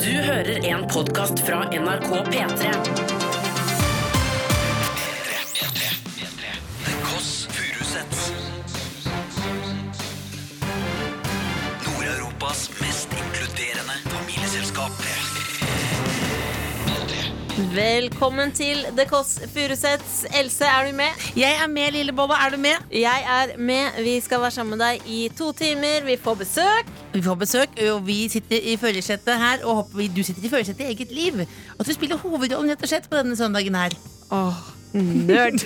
Du hører en podkast fra NRK P3. The Koss Furusets Nord-Europas mest inkluderende familieselskap Velkommen til The Kåss Furuseths. Else, er du med? Jeg er med, lille Bobba. Er du med? Jeg er med. Vi skal være sammen med deg i to timer. Vi får besøk. Vi får besøk, og vi sitter i førersetet her. Og håper vi, du sitter i førersetet i eget liv. Og at du spiller hovedrollen rett og slett på denne søndagen her. Åh, nerd.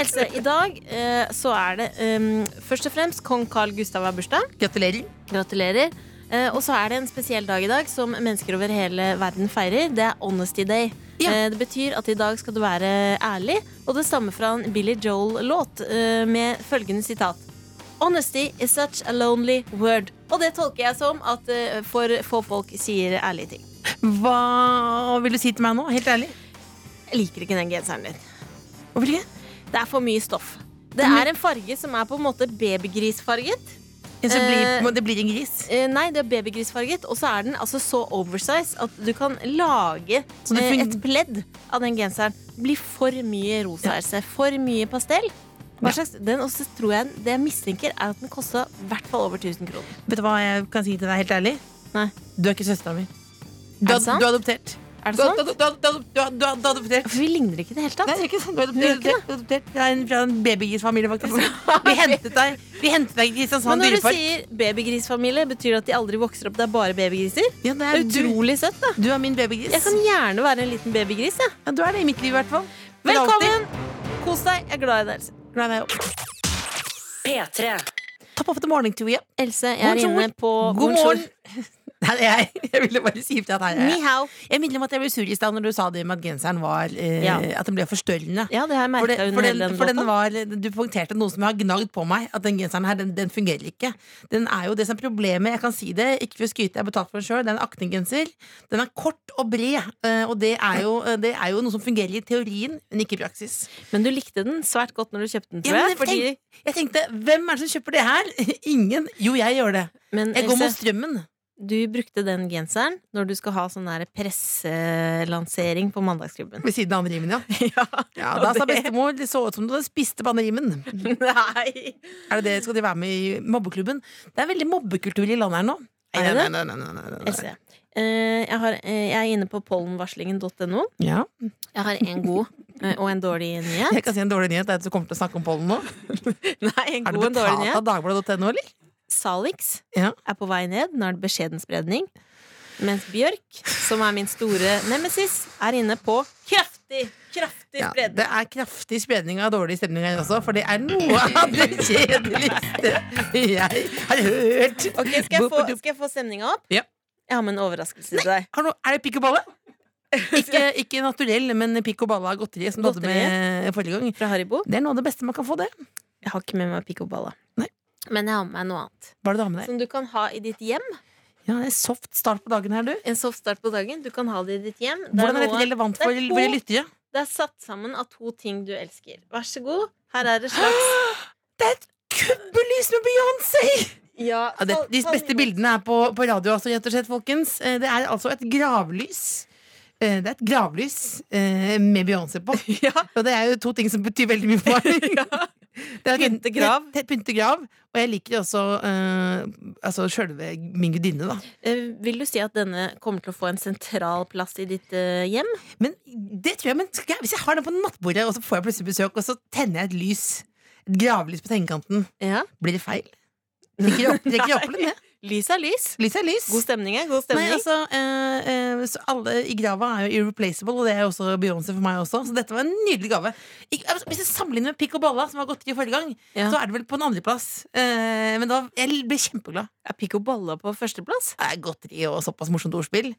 Else, i dag eh, så er det um, først og fremst kong Carl Gustav har bursdag. Gratulerer. Gratulerer. Eh, og så er det en spesiell dag i dag som mennesker over hele verden feirer. Det er Honesty Day. Ja. Eh, det betyr at i dag skal du være ærlig, og det stammer fra en Billy Joel-låt eh, med følgende sitat. Honesty is such a lonely word. Og det tolker jeg som at eh, for få folk sier ærlige ting. Hva vil du si til meg nå? Helt ærlig. Jeg liker ikke den genseren din. Hvorfor ikke? Det er for mye stoff. Det er en farge som er på en måte babygrisfarget. Ja, så Eh, blir, det blir en gris. Eh, nei, det er babygrisfarget, og så er den altså så oversize at du kan lage Så det eh, fun- et pledd av den genseren. Det blir for mye rosa, Else. For mye pastell. Hva Ja. slags, den også tror jeg, Det jeg mistenker, er at den kosta i hvert fall over 1000 kroner. Vet du hva jeg kan si til deg, helt ærlig? Nei. Du er ikke søstera mi. Du, Er det ad- sant? du er adoptert. Er Du det er- sånn? du er- du er- du er- du er- du er- du er adoptert. For vi ligner ikke i det hele Nei, tatt. det er ikke sant. Du er adoptert. Det er ikke Du er adoptert. Jeg er en- fra en babygrisfamilie, faktisk. Vi hentet deg Vi hentet deg i Kristiansand Men når du dyrepark. sier babygrisfamilie, betyr det at de aldri vokser opp? Det er bare babygriser? Ja, det Det er er du, utrolig søtt, da. du er min babygris. Jeg kan gjerne være en liten babygris, jeg. Ja, du er det i mitt liv, i hvert fall. For alltid. Velkommen! Kos deg. Jeg er glad i deg, Else. Glad i deg også. P3. Topp av the morning to you. Else, jeg er Bonjour. inne på God morgen. Her er jeg, jeg ville bare si til at her er Ni jeg. hao. Jeg minner om at jeg ble sur i stad når du sa det med at genseren var eh, Ja. At den ble forstørrende. Ja, det har jeg For, det, merka under for, den, hele den for den låta. var, Du poengterte noe som jeg har gnagd på meg. At den genseren her, den, den fungerer ikke. Den er jo det som er problemet. Jeg kan si det, ikke for å skryte, jeg har betalt for den sjøl. Det er en akninggenser. Den er kort og bred, eh, og det er, jo, det er jo noe som fungerer i teorien, men ikke i praksis. Men du likte den svært godt når du kjøpte den, tror Ja, jeg. men Fordi, tenk- Jeg tenkte, hvem er det som kjøper det her? Ingen. Jo, jeg gjør det. men Jeg går mot Mm, Else, strømmen. du brukte den genseren når du skal ha sånn der presselansering på Mandagsklubben. Ved siden av anderimen, ja. ja. Da og sa det- bestemor det så ut som du hadde spiste på anderimen. Nei! Er det det? Skal de være med i mobbeklubben? Det er veldig mobbekultur i landet her nå. Er det Nei, det? nei, nei, nei, nei, nei, nei. Else. eh, Jeg, har, eh, jeg er inne på pollenvarslingen.no. Ja. Jeg har en god eh, og en dårlig nyhet. Jeg kan si en dårlig nyhet. Det er at du kommer til å snakke om pollen nå. Nei, en Er god og du en dårlig betalt nyhet. av dagbladet.no, eller? Salix Ja. er på vei ned. Nå er det beskjeden spredning. Mens Bjørk, som er min store nemesis, er inne på kraftig, kraftig Ja, spredning. det er kraftig spredning av dårlig stemning her også, for det er noe av det kjedeligste jeg har hørt. Ok, skal jeg få, skal jeg få stemninga opp? Ja. Jeg har med en overraskelse til deg. Har du- Er det pikk og balle? Ikke, ikke naturell, men pikk og balle av godteri, som du hadde med forrige gang. Fra Haribo. Det er noe av det beste man kan få, det. Jeg har ikke med meg pikk og balla. Nei. Men jeg har med meg noe annet. Hva er det du har med deg? Som du kan ha i ditt hjem. Ja, det er soft start på dagen her, du. En soft start på dagen. Du kan ha det i ditt hjem. Det er, Hvordan er dette noe, relevant det er for to- våre lyttere? det er satt sammen av to ting du elsker. Vær så god. Her er det slags Det er et kubbelys med Beyoncé! Ja, Ja, det, de beste bildene er på, på radio, altså, rett og slett, folkens. Eh, Det er altså et gravlys. Eh, Det er et gravlys eh, med Beyoncé på. Og det er jo to ting som betyr veldig mye for meg. Det er et- Pyntegrav. det er et Pyntegrav. Og jeg liker også eh, altså sjølve min gudinne, da. Eh, Vil du si at denne kommer til å få en sentral plass i ditt eh, hjem? Men det tror jeg, men skal jeg, hvis jeg har den på nattbordet, og så får jeg plutselig besøk, og så tenner jeg et lys, et gravlys på sengekanten, Ja. blir det feil? Trekker jeg opp, trekker jeg opp eller ned? Lys er lys. Lys er lys. God stemning er god Nei, stemning. altså, eh, eh, så alle i grava er jo irreplaceable, og det er jo også Beyoncé for meg også. Så dette var en nydelig gave. Ik altså, hvis jeg sammenligner med Pikk og Balla, som var godteri forrige gang, Ja. så er det vel på en andreplass. Uh, men da jeg ble kjempeglad. er pikk og baller på førsteplass? Eh, Godteri og såpass morsomt ordspill.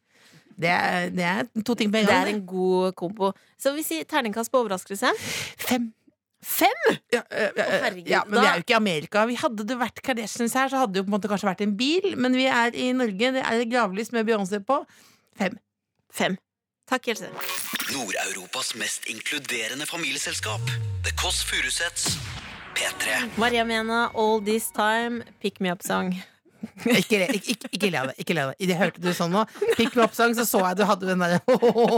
Det er, det er to ting på en Det er gang. en god kombo. Så vi sier terningkast på overraskelse. Fem. Fem? Ja, øh, øh, herregud, ja, men da- vi er jo ikke i Amerika. Vi hadde det vært Kardashians her, så hadde det jo på en måte kanskje vært en bil, men vi er i Norge. Det er et gravlys med Beyoncé på. Fem. Fem. Takk, Else. Nord-Europas mest inkluderende familieselskap The Koss Furusets P3 Maria Mena, All This Time, Pick Me Up Song. Ikke, le- ikke, ikke, ikke le av det. Ikke le av det. Idet jeg hørte du sånn nå, Pikk Plopp-sang, så så jeg du hadde den derre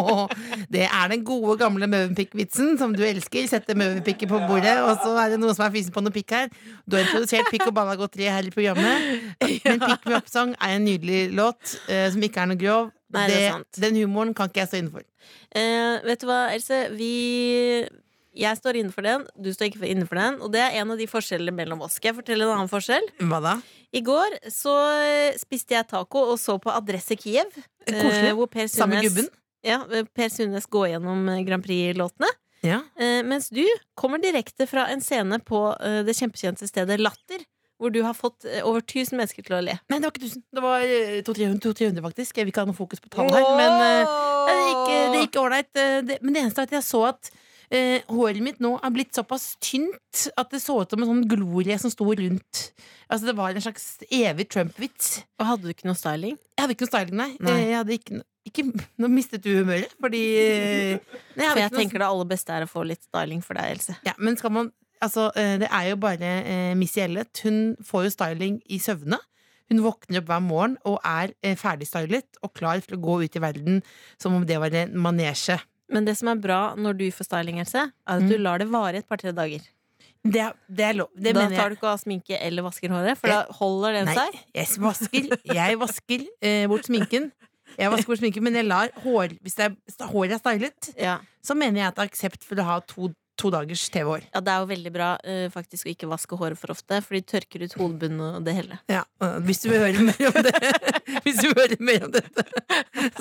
Det er den gode, gamle Møvenpikk-vitsen som du elsker. Setter Møvenpikken på bordet, og så er det noen som er fysen på noe pikk her. Du har introdusert Pikk og Balla godteri her i programmet. Men Pikk Plopp-sang er en nydelig låt eh, som ikke er noe grov. Nei, det er sant. Den humoren kan ikke jeg stå inne for. Eh, vet du hva, Else? Vi jeg står innenfor den, du står ikke innenfor den. Og det er en av de forskjellene mellom oss. Skal jeg fortelle en annen forskjell? Hva da? I går så eh, spiste jeg taco og så på Adresse Kiev. eh, Koselig. hvor per Samme Sundnes- gubben? Ja, eh, Per Sundnes går gjennom eh, Grand Prix-låtene. Ja. Eh, mens du kommer direkte fra en scene på eh, det kjempekjente stedet Latter. Hvor du har fått eh, over 1000 mennesker til å le. Nei, det var ikke 1000. Det var eh, 200-300, 200-300, faktisk. Jeg vil ikke ha noe fokus på tall her, men eh, Nei, Det gikk, det gikk ålreit. eh, det- Men det eneste er at jeg så at eh, håret mitt nå er blitt såpass tynt at det så ut som en sånn glorie som sto rundt. Altså Det var en slags evig Trump-vits. Og hadde du ikke noe styling? Jeg hadde ikke noe styling, nei. Nei. Eh, Jeg hadde ikke, no- ikke Nå mistet du humøret, fordi eh, nei, For hadde jeg ikke noe- tenker det aller beste er å få litt styling for deg, Else. ja, Men skal man Altså, eh, det er jo bare eh, Missy Elliot. Hun får jo styling i søvne. Hun våkner opp hver morgen og er eh, ferdigstylet og klar til å gå ut i verden som om det var en manesje. Men det som er bra når du får styling, Else, er at du lar det vare et par-tre dager. Det, er- det er lov. Det da mener jeg. tar du ikke av sminke eller vasker håret, for da holder den seg. jeg vasker, jeg vasker eh, bort sminken. Jeg vasker bort sminken, men jeg lar hår Hvis det er, hvis det- håret er stylet, Ja. så mener jeg at det er aksept for å ha to, to dagers TV-hår. ja, det er jo veldig bra eh, faktisk å ikke vaske håret for ofte, for de tørker ut hodebunnen og det hele. Ja, øh, hvis du vil høre mer om det Hvis du vil høre mer om dette,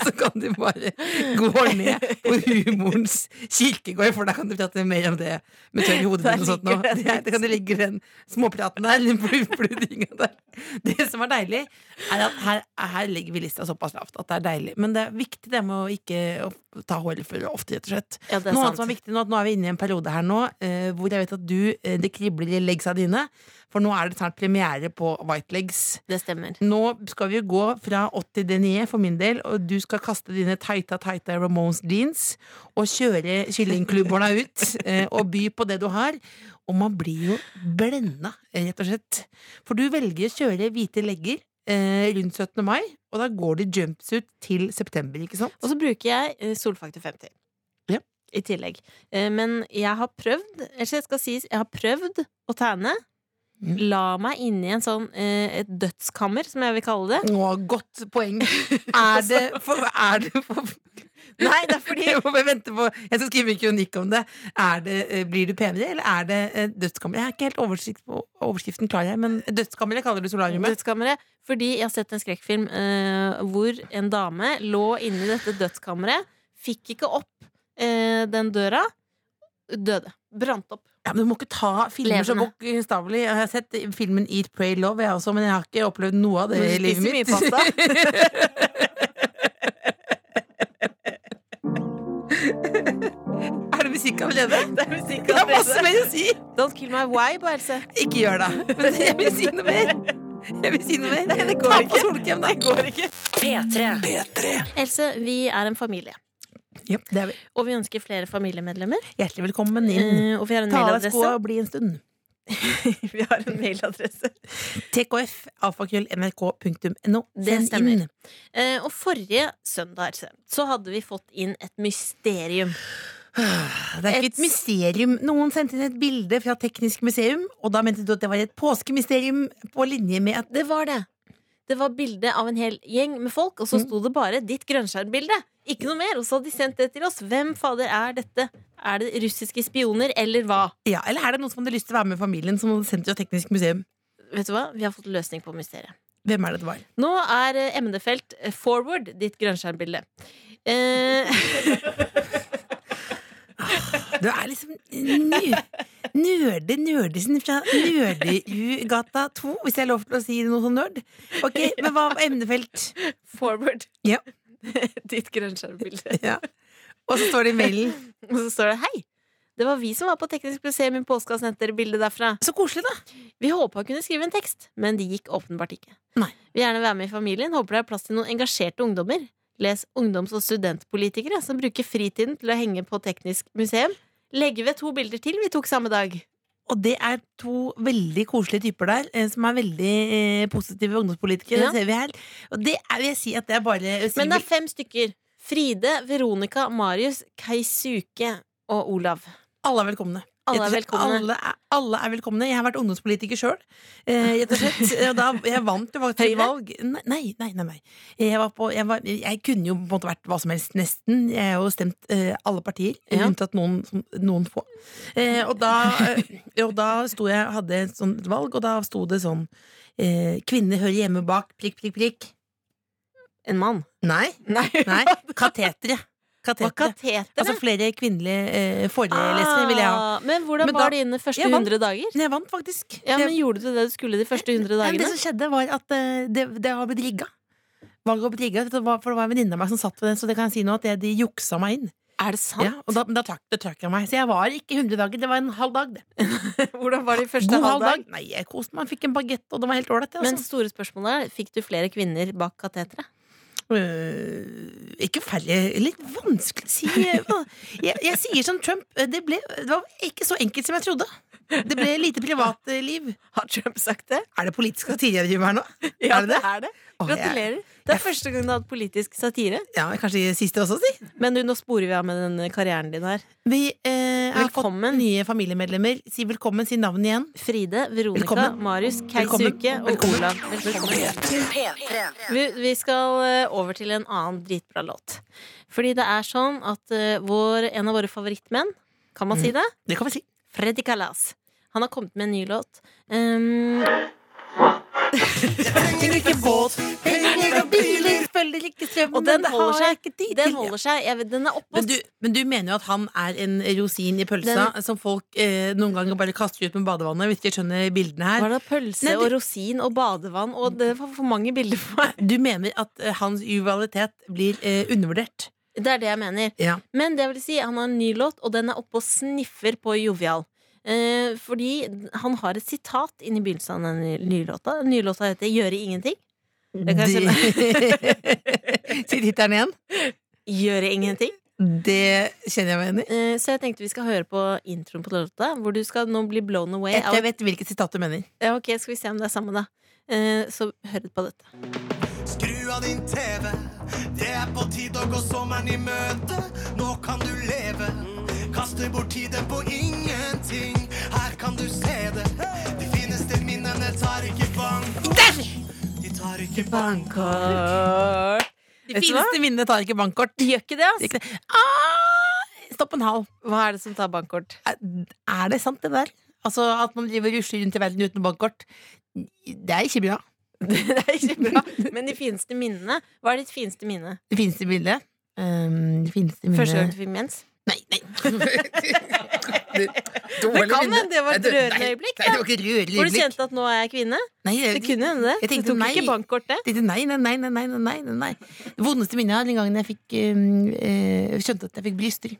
så kan du bare gå ned på humorens kirkegård, for da kan du prate mer om det med tørr i hodet Der og sånt ligger nå. den. Ja, Det kan du ligge den småpraten der, den blu- bludringa der. Det som er deilig, er at her, her legger vi lista såpass lavt at det er deilig. Men det er viktig det med å ikke å ta håret for ofte, rett og slett. Ja, det er Noe sant. annet som er viktig nå, at nå er vi inne i en periode her nå eh, hvor jeg vet at du, eh, det kribler i leggsa dine. For nå er det snart premiere på White Legs. Det stemmer. Nå skal vi jo gå fra 80 til 9 for min del, og du skal kaste dine tighta, tighta Ramones jeans og kjøre kyllingklubberna ut eh, og by på det du har. Og man blir jo blenda, eh, rett og slett. For du velger å kjøre hvite legger eh, rundt 17. mai, og da går det jumpsuit til september, ikke sant? Og så bruker jeg eh, solfaktor 50. Ja. I tillegg. Eh, men jeg har prøvd, eller jeg skal sies, jeg har prøvd å tegne. Mm. La meg inn i en sånn eh, et dødskammer, som jeg vil kalle det. Å, godt poeng. Er det for, er det for Nei, det er fordi jeg må bare vente på Jeg skal skrive en kronikk om det. Er det eh, blir du penere, eller er det eh, dødskammer? Jeg har ikke helt oversikt på overskriften klar, jeg, men dødskammeret kaller du solariumet. Dødskammeret. Fordi jeg har sett en skrekkfilm eh, hvor en dame lå inni dette dødskammeret, fikk ikke opp eh, den døra, døde. Brant opp. Ja, men du må ikke ta filmer så Levende. bokstavelig. Jeg har sett filmen Eat, Pray, Love, jeg også, men jeg har ikke opplevd noe av det i Men du livet spiser mitt. mye er det musikk allerede? Det er musikk Jeg har masse mer å si! Don't kill my vibe, Else. Ikke gjør det. Men jeg vil si noe mer. Jeg vil si noe mer. Nei, det går Ta ikke. på solkrem, da. P3. P3. Else, vi er en familie. Ja, det er vi. Og vi ønsker flere familiemedlemmer. Hjertelig velkommen inn. Eh, og vi har en Ta av deg mailadresse. skoa og bli en stund. vi har en mailadresse. TKF, alfakrøll, nrk.no. Det stemmer. Eh, og forrige søndag Else, så hadde vi fått inn et mysterium. Det er ikke et mysterium. Noen sendte inn et bilde fra Teknisk museum, og da mente du at det var et påskemysterium på linje med at Det var det. Det var bilde av en hel gjeng med folk, og så sto det bare 'ditt grønnskjærbilde'. Ikke noe mer. Og så hadde de sendt det til oss. Hvem fader er dette? Er det russiske spioner, eller hva? Ja, eller er det noen som hadde lyst til å være med familien, som hadde sendt fra Teknisk museum? Vet du hva? Vi har fått løsning på mysteriet. Hvem er det det var? Nå er eh, emnefelt eh, forward ditt grønnskjermbilde. Eh, Du er liksom nø- nørde nerdesen fra Nerdegata 2, hvis jeg har lov til å si noe sånn nerd. Ok, men hva var emnefelt? forward Ja. ditt grønnskjermbilde. Ja. Og så står det i mailen. Og så står det 'Hei, det var vi som var på Teknisk museum i påska og sendte dere bilde derfra'. Så koselig, da! Vi håpa å kunne skrive en tekst, men det gikk åpenbart ikke. Nei. Vil gjerne være med i familien, håper det er plass til noen engasjerte ungdommer. Les ungdoms- og studentpolitikere som bruker fritiden til å henge på Teknisk museum. Legge ved to bilder til vi tok samme dag. Og det er to veldig koselige typer der, eh, som er veldig eh, positive ungdomspolitikere. Ja. Det ser vi her. Og det er, vil jeg si at det er bare Men det er fem stykker. Fride, Veronica, Marius, Keisuke og Olav. Alle er velkomne. Alle er Rett og slett, velkomne. Alle er, alle er velkomne. Jeg har vært ungdomspolitiker sjøl. Eh, rett og slett. Og da, jeg vant jo faktisk et Høyre? valg. Nei, nei, nei. nei, nei. Jeg, var på, jeg, var, jeg kunne jo på en måte vært hva som helst, nesten. Jeg har jo stemt eh, alle partier, Ja. unntatt noen, som- noen få. Eh, og da, eh, og da sto jeg, hadde jeg et sånt valg, og da sto det sånn eh, Kvinner hører hjemme bak prikk, prikk, prikk. En mann. Nei. Nei, nei. Katetre. Hva Katetre. kateter? Altså flere kvinnelige eh, forelesere vil jeg ha. Ah, Men hvordan Men da- var det innen de første Jeg vant. 100 dager? Men jeg vant faktisk. Ja, Jeg- men Gjorde du det du skulle de første 100 Nei, men dagene? det som skjedde, var at eh, det, det har blitt rigga. Valget har blitt rigga, det var- for det var en venninne av meg som satt ved det, så det kan jeg si nå at det, de juksa meg inn. Er det sant? Ja, og da, men da trakk, da trakk jeg meg. Så jeg var ikke 100 dager, det var en halv dag. Det. Hvordan var det i God første halv dag. halvdag? Nei, jeg koste meg, fikk en bagett, og det var helt ålreit. det, Men Altså. store spørsmålet er, fikk du flere kvinner bak kateteret? Øh, ikke færre Litt vanskelig å si. øh, Jeg, jeg sier som Trump, øh, det, ble, det var ikke så enkelt som jeg trodde. Det ble lite privatliv. Har Trump sagt det? Er det politisk satire jeg driver med her nå? er det det? er det. Åh, jeg- Gratulerer. Det er første gang du har hatt politisk satire. Ja, kanskje siste også, si. Men du, nå sporer vi av med den karrieren din her. Vi eh, har fått Velkommen. nye familiemedlemmer. Si velkommen, si navnet igjen. Fride, Veronica, Velkommen. Marius, Velkommen. Keisuke og Velkommen. Olav. Velkommen. Vi, vi skal eh, over til en annen dritbra låt. Fordi det er sånn at eh, vår, en av våre favorittmenn, kan man si det? Det kan vi si. Freddy Kalas. Han har kommet med en ny låt. Um, Trenger ikke båt, penger og biler, følger ikke strømmen. og den det holder har jeg seg. ikke tid Den til. holder seg. Jeg vet, den er oppe Men du, men du mener jo at han er en rosin i pølsa som folk eh, noen ganger bare kaster ut med badevannet. Hvis de skjønner bildene her. Var det pølse Nei, det- og rosin og badevann og Det var for mange bilder for meg. Du mener at eh, hans uvalitet blir eh, undervurdert. Det er det jeg mener. Ja. Men det vil si, han har en ny låt, og den er oppe og sniffer på Jovial. Eh, fordi han har et sitat inni begynnelsen av den nye låta. Den nye låta heter 'Gjøre ingenting'. Det kan jeg Si tittelen igjen. Gjøre ingenting. Det kjenner jeg meg igjen i. Eh, så jeg tenkte vi skal høre på introen på den låta, hvor du skal nå bli blown away. Jeg av- tror jeg vet hvilket sitat du mener. Ja, ok, Skal vi se om det er samme, da. Eh, så hør på dette. Skru av din TV. Det er på tide å gå sommeren i møte. Nå kan du leve. Kaste bort tiden på ingenting. Her kan du se det. De fineste minnene tar ikke bank. De tar ikke bank. Bankkort. De Vet du hva? fineste minnene tar ikke bankkort. Gjør ikke det, ass. Ikke det. Ah, stopp en hal. Hva er det som tar bankkort? Er- Er det sant, det der? Altså At man driver og rusler rundt i verden uten bankkort. Det er ikke bra. Det er ikke bra. Men de fineste minnene. Hva er ditt fineste minne? Det fineste bildet um, Det fineste minnet Første gang du fikk mens? Nei, nei. det, Det kan hende det var et rørende øyeblikk, Nei, da. det var ikke et rørende Hvor du øyeblikk. kjente at nå er jeg kvinne? Nei, jeg, Det kunne hende det. Jeg tenkte du tok nei. ikke bankkortet. tenkte nei, nei, nei, nei, nei, nei, nei, nei. Det vondeste minnet er den gangen jeg fikk um, eh, skjønte at jeg fikk bryster.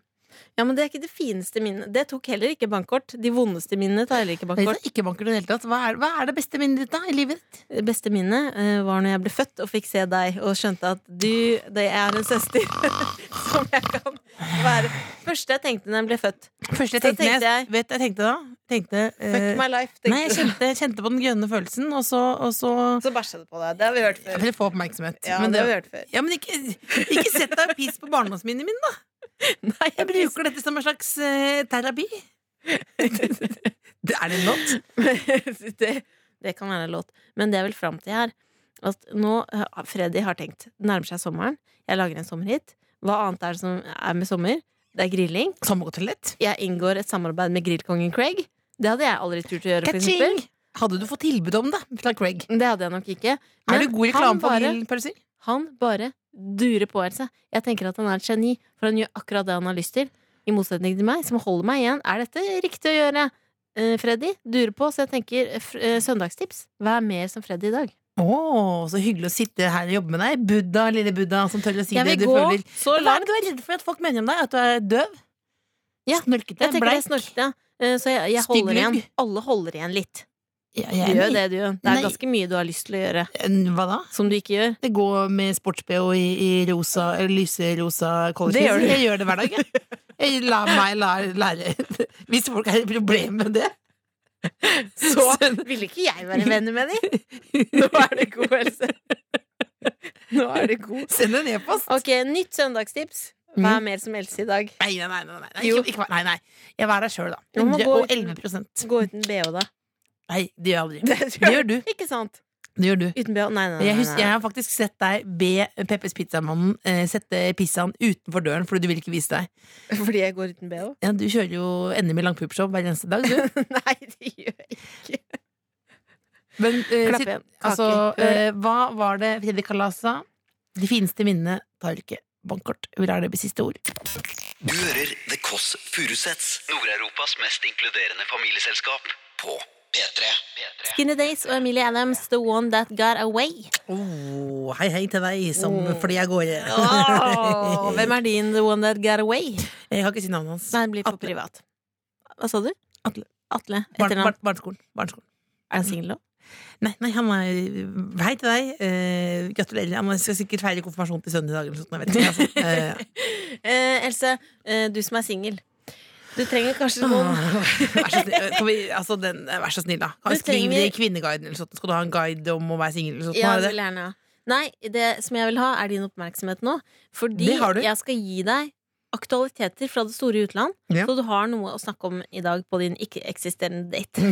Ja, men det er ikke det fineste minnet. Det tok heller ikke bankkort. De vondeste minnene tar heller ikke Nei, det bankkort. er Ikke banker i det hele tatt. Hva er, hva er det beste minnet ditt da i livet ditt? Det beste minnet eh, var når jeg ble født og fikk se deg og skjønte at du, det er en søster som jeg kan være. Første jeg tenkte når jeg ble født. Første jeg Så tenkte, tenkte jeg- jeg, vet du hva jeg tenkte da? Tenkte, Fuck eh, my life. Nei, Tenkte. jeg du. kjente, jeg kjente på den grønne følelsen, og så, og så Så bæsja du på deg. Det har vi hørt Jeg før. ville få oppmerksomhet. Ja, men det har vi det, hørt før. ja, men ikke, ikke sett deg piss på barndomsminnet mine, da! Nei, Jeg bruker dette som en slags eh, terapi. Det er det not? det, det kan være en låt. Men det jeg vil fram til her, at nå eh, Freddy har tenkt det nærmer seg sommeren. Jeg lager en sommerhit. Hva annet er det som er med sommer? Det er grilling. Sommerhotellet. Jeg inngår et samarbeid med grillkongen Craig. Det hadde jeg aldri turt å gjøre. For Ka-ching! eksempel. Hadde du fått tilbud om det fra Craig? det hadde jeg nok ikke. Er Men du god i han reklame på bare- grillpølser? Han bare durer på her seg. Jeg tenker at han er et geni, for han gjør akkurat det han har lyst til. I motsetning til meg, som holder meg igjen. Er dette riktig å gjøre? Eh, Freddy durer på, så jeg tenker eh, fr- eh, søndagstips. Vær mer som Freddy i dag. Å, så hyggelig å sitte her og jobbe med deg. Buddha, lille Buddha, som tør å si Jeg det vil du gå føler. så Hva er langt. det du er redd for at folk mener om deg? At du er døv? Ja, Snølkete? Jeg tenker det er snorkete. eh, Så jeg, jeg holder Stygglugg. igjen. Alle holder igjen litt. Ja, Du jeg er gjør enig. det, du. Det Nei. er ganske mye du har lyst til å gjøre Eh, Hva da? som du ikke gjør. Det går med sports-BH i, i rosa, eller lyserosa college. Det gjør du. Jeg gjør det hver dag, jeg. jeg. La meg lære, lære Hvis folk har et problem med det. Så Så- ville ikke jeg være venner med dem. Nå er det god helse. Nå er det god. Send en e-post. Ok, nytt søndagstips. Hva Mhm. er mer som else i dag? Nei, nei, nei. nei, nei, nei. Jo. Ikke, ikke, nei, nei. Jeg var der sjøl, da. Du må gå ut- 111 Gå uten bh, da. Nei, det gjør jeg aldri. Det Det gjør du. Ikke sant? Det gjør du. Uten bh? Nei, nei, nei. Jeg, husker, jeg har faktisk sett deg be Peppers Pizzamannen eh, sette pizzaen utenfor døren fordi du vil ikke vise deg. nei. Fordi jeg går uten bh? Ja, du kjører jo NM i langpuppshow hver eneste dag, du. nei, det gjør jeg ikke. Men eh, Klapp sitt- igjen. altså, Kake. eh, hva var det Fredrik Kalas sa? De fineste minnene tar ikke bankkort. Vil ha det bli siste ord. Du hører The Kåss Furuseths, Nord-Europas mest inkluderende familieselskap, på P3. Skinny Days og Emilie Adams, The One That Got Away. Oh, hei, hei til deg som flyr av gårde. hvem er din The One That Got Away? Jeg kan ikke si navnet hans. Nei, det blir for Atle. privat. Hva sa du? Atle. Atle. Barn, Etternavn. barn, barneskolen. barneskolen. Er han singel nå? Nei, nei, han er Hei til deg. Eh, gratulerer. Han skal sikkert feire konfirmasjon til sønnen i dag. Eller noe sånt, jeg vet ikke, altså. Eh, Eh, Else, eh, du som er singel. Du trenger kanskje noen Vær så snill, kan vi, altså den, vær så snill da. Kan Du vi skrive trenger- det i Kvinneguiden. Eller sånt. Skal du ha en guide om å være singel? eller sånt? Ja, Har du jeg det? vil gjerne ha. Nei, det som jeg vil ha, er din oppmerksomhet nå. Fordi Det har du. jeg skal gi deg aktualiteter fra det store utland, Ja. så du har noe å snakke om i dag på din ikke-eksisterende date.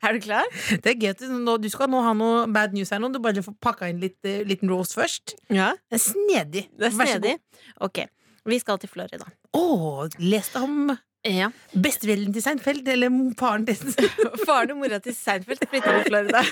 er du klar? Det er gøy at du, nå, du skal nå ha noe bad news her nå. Du bare får pakka inn litt eh, liten rose først. Ja. Det er snedig. Det er Vær så snedig. Ok. Vi skal til Florida. god. Å, leste om Ja. bestevennen til Seinfeld? Eller faren til Faren og mora til Seinfeld flytter til Florida.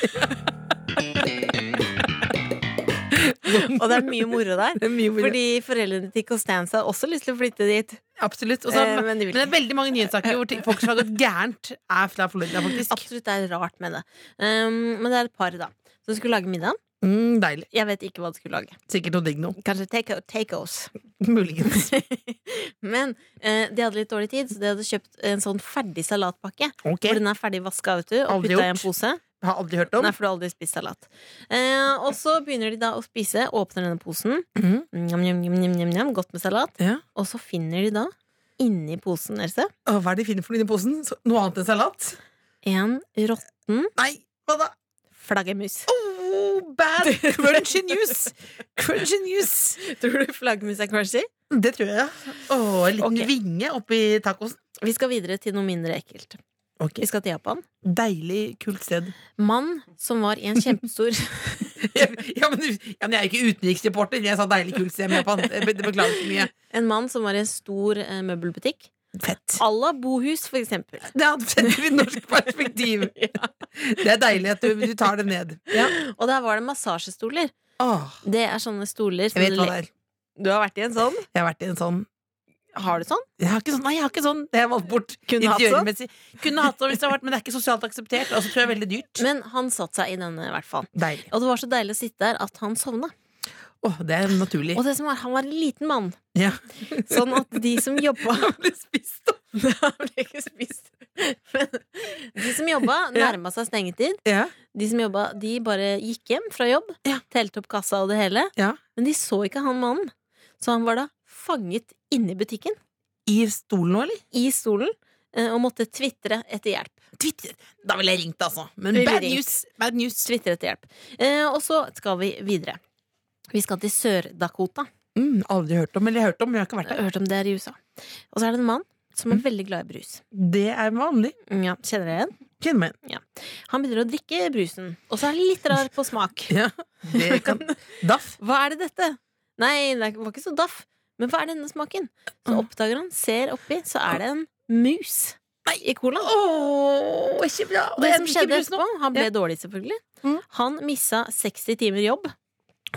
og det er mye moro der. Det er mye moro. Fordi foreldrene til Costanza har også lyst til å flytte dit. Absolutt. Og så- Eh, men men de det vil er veldig mange nyhetssaker hvor ting- folk som har gått gærent, er fra Florida, faktisk. Absolutt, det er rart med det. Um, men det er et par da som skulle lage middag. Mm, deilig. Jeg vet ikke hva de skulle lage. Sikkert noe digg nå. Kanskje take takeos. Muligens. Men eh, de hadde litt dårlig tid, så de hadde kjøpt en sånn ferdig salatpakke. Ok. Hvor den er ferdig vaska, vet du, og Aldri putta i en gjort. pose. Har aldri hørt om. Nei, for du har aldri spist salat. Eh, og så begynner de da å spise, åpner denne posen. Mhm. Njam, njam, njam, njam, njam, njam, godt med salat. Ja. Og så finner de da, inni posen, Else, Å, Hva er det de finner for noe i posen? Så- Noe annet enn salat? en råtten Nei, hva da? flaggermus. Oh, bad crunchy news! Crunchy news! Tror du flaggermus er crunchy? Det tror jeg, ja. Å, en liten Ok. vinge oppi tacosen. Vi skal videre til noe mindre ekkelt. Ok. Vi skal til Japan. Deilig, kult sted. Mann som var i en kjempestor ja, men, ja, men jeg er jo ikke utenriksreporter. Jeg sa deilig, kult sted med Japan. Jeg be- Beklager så mye. En mann som var i en stor eh, møbelbutikk. Fett. À la Bohus, for eksempel. Det hadde sett i norsk perspektiv. Det er deilig at du, du tar det ned. Ja. Og der var det massasjestoler. Åh, Det er sånne stoler som jeg vet du hva le- det er. Du har vært i en sånn? Jeg har vært i en sånn Har du sånn? Jeg har ikke sånn, nei, jeg har ikke sånn. Det har jeg valgt bort. Kunne hatt sånn? Interiørmessig. Kunne hatt sånn hvis det har vært, men det er ikke sosialt akseptert. Og så tror jeg det er veldig dyrt. Men han satte seg i denne, i hvert fall. Deilig. Og det var så deilig å sitte der at han sovna. Åh, det er naturlig. Og det som var, han var en liten mann. Ja. Sånn at de som jobba ble spist opp. Han ble ikke spist. Men de som jobba, Ja. nærma seg stengetid. Ja. De som jobba, de bare gikk hjem fra jobb, Ja. telte opp kassa og det hele. Ja. Men de så ikke han mannen. Så han var da fanget inne i butikken, I stolen nå, eller? i stolen, eh, og måtte tvitre etter hjelp. Twitter. Da ville jeg ringt, altså. Men Ville bad ringt. news. Bad news. Tvitre etter hjelp. Eh, Og så skal vi videre. Vi skal til Sør-Dakota. Mm, aldri hørt om, eller jeg har hørt om, men jeg har ikke vært Jeg der. har hørt om det her i USA. Og så er det en mann som er Mm. veldig glad i brus. Det er vanlig. Ja, kjenner jeg igjen? Kjenn meg igjen. Han begynner å drikke brusen, og så er han litt rar på smak. Ja, det kan Daff. Hva er det dette? Nei, det er- var ikke så daff. Men hva er denne smaken? Så Ah. oppdager han, ser oppi, så er det en mus i colaen. Åh, ikke bra. Og det Jeg som drikker skjedde brus nå. etterpå, han ble Ja. dårlig, selvfølgelig. Mm. Han missa 60 timer jobb.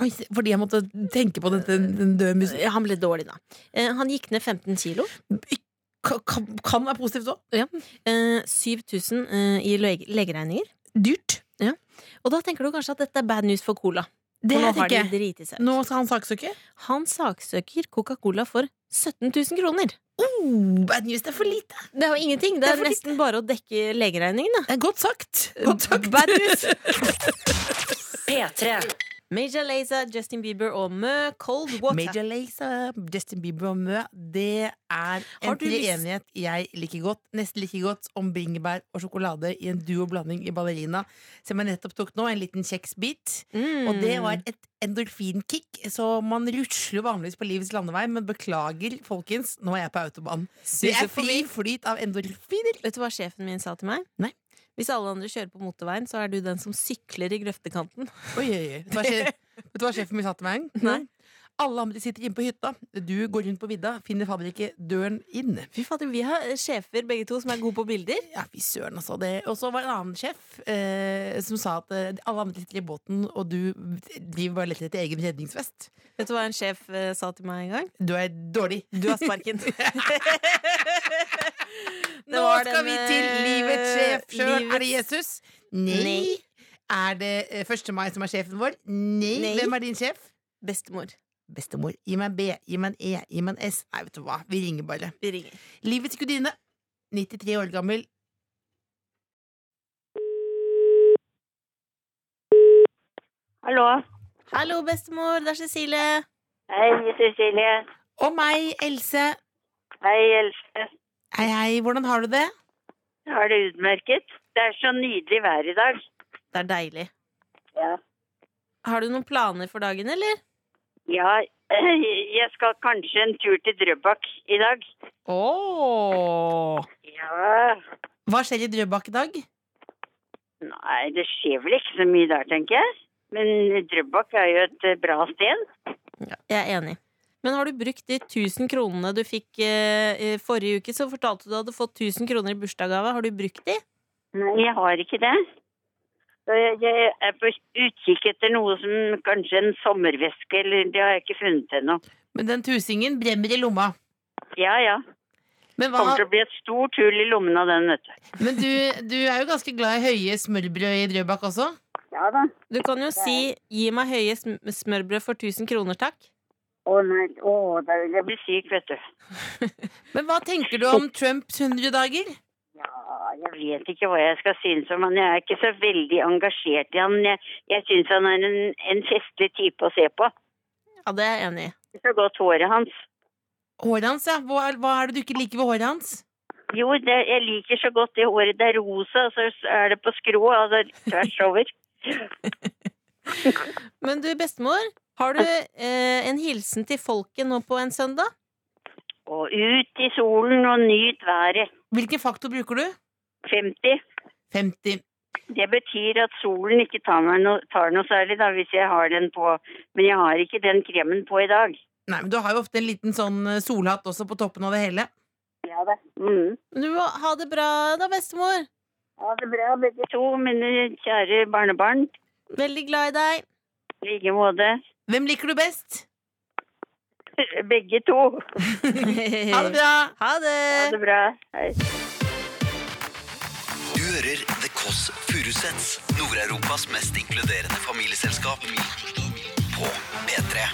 Oi, Fordi jeg måtte tenke på dette, den døde musen. Han ble dårlig, da. Eh, Han gikk ned 15 kilo. Ka- Kan, kan være positivt òg. Eh, 7000 eh, i lege- legeregninger. Dyrt. Og da tenker du kanskje at dette er bad news for cola. Det for nå har tenker de jeg. driti seg ut. Nå skal han saksøke? Han saksøker Coca-Cola for 17 000 kroner. Oh, bad news, det er for lite. Det er jo ingenting. Det Det er er, for lite. nesten bare å dekke legeregningen. da. Det er godt sagt. Godt sagt. Bad news. P3. Major Lazer, Justin Bieber og Mø, Cold Water. Major Lazer, Justin Bieber og Mø, det er en Har du lyst- treenighet jeg liker godt. Nesten like godt om bringebær og sjokolade i en duo-blanding i ballerina. Som jeg nettopp tok nå, en liten kjeksbit. Mm. Og det var et endorfinkick, så man rusler vanligvis på livets landevei. Men beklager, folkens, nå er jeg på autobahn. Det Suser er forbi. fri flyt av endorfiner. Vet du hva sjefen min sa til meg? Nei. Hvis alle andre kjører på motorveien, så er du den som sykler i grøftekanten. Oi, oi, oi. Hva skjer? Vet du hva sjefen min sa til meg? Nei. Alle andre sitter inne på hytta. Du går rundt på vidda, finner fabrikket døren inn. Fy fader, Vi har eh, sjefer begge to som er gode på bilder. Ja, fy søren, altså. Det. Og så var det en annen sjef eh, som sa at eh, alle andre sitter i båten, og du driver bare og leter etter egen redningsvest. Vet du hva en sjef eh, sa til meg en gang? Du er dårlig. Du har sparken. Nå skal vi eh, til livets sjef sjøl. Er det Jesus? Nei. Nei. Er det eh, 1. mai som er sjefen vår? Nei. Nei. Hvem er din sjef? Bestemor. Bestemor. Gi meg en B, gi meg en E, gi meg en S. Nei, vet du hva, vi ringer bare. Vi ringer. Livets gudinne. 93 år gammel. Hallo. Hallo, bestemor. Det er Cecilie. Hei, Cecilie. Og meg, Else. Hei, Else. Hei, hei, hvordan har du det? Har det utmerket? Det er så nydelig vær i dag. Det er deilig. Ja. Har du noen planer for dagen, eller? Ja, jeg skal kanskje en tur til Drøbak i dag. Ååå. Ja. Hva skjer i Drøbak i dag? Nei, det skjer vel ikke så mye der, tenker jeg. Men Drøbak er jo et eh, bra sted. Jeg er enig. Men har du brukt de 1000 kronene du fikk eh, i forrige uke? Så fortalte du at du hadde fått 1000 kroner i bursdagsgave. Har du brukt de? Nei, jeg har ikke det. Så Jeg jeg er på utkikk etter noe som kanskje en sommerveske, eller det har jeg ikke funnet ennå. Men den tusingen bremmer i lomma. Ja, ja. Men, Det kommer hva, til å bli et stort hull i lommen av den, vet du. men du, du er jo ganske glad i høye smørbrød i Drøbak også? Ja da. Du kan jo si 'gi meg høye sm smørbrød for 1000 kroner, takk'. Å nei, å, da vil jeg bli syk, vet du. Men hva tenker du om Trumps 100 dager? Ja, jeg vet ikke hva jeg skal synes om han. Jeg er ikke så veldig engasjert i han. Jeg, jeg synes han er en, en festlig type å se på. Ja, det er jeg enig i. Det er Så godt håret hans. Håret hans, ja. Hva, er- hva er det du ikke liker ved håret hans? Jo, det, jeg liker så godt det håret. Det er rosa, og så er det på skrå, altså tvers over. Men du, bestemor, har du eh, en hilsen til folket nå på en søndag? Og ut i solen og nyt været. Hvilken faktor bruker du? 50. 50. Det betyr at solen ikke tar, meg no, tar noe særlig da, hvis jeg har den på. Men jeg har ikke den kremen på i dag. Nei, men Du har jo ofte en liten sånn eh, solhatt også på toppen av det hele. Ja da. Mm. Du må ha det bra da, bestemor. Ha det bra, begge to, mine kjære barnebarn. Veldig glad i deg. I like måte. Hvem liker du best? Begge to. Ha det bra! Ha Ha det. det bra. Hei. Du hører The Kåss Furuseths, Nord-Europas mest inkluderende familieselskap på P3.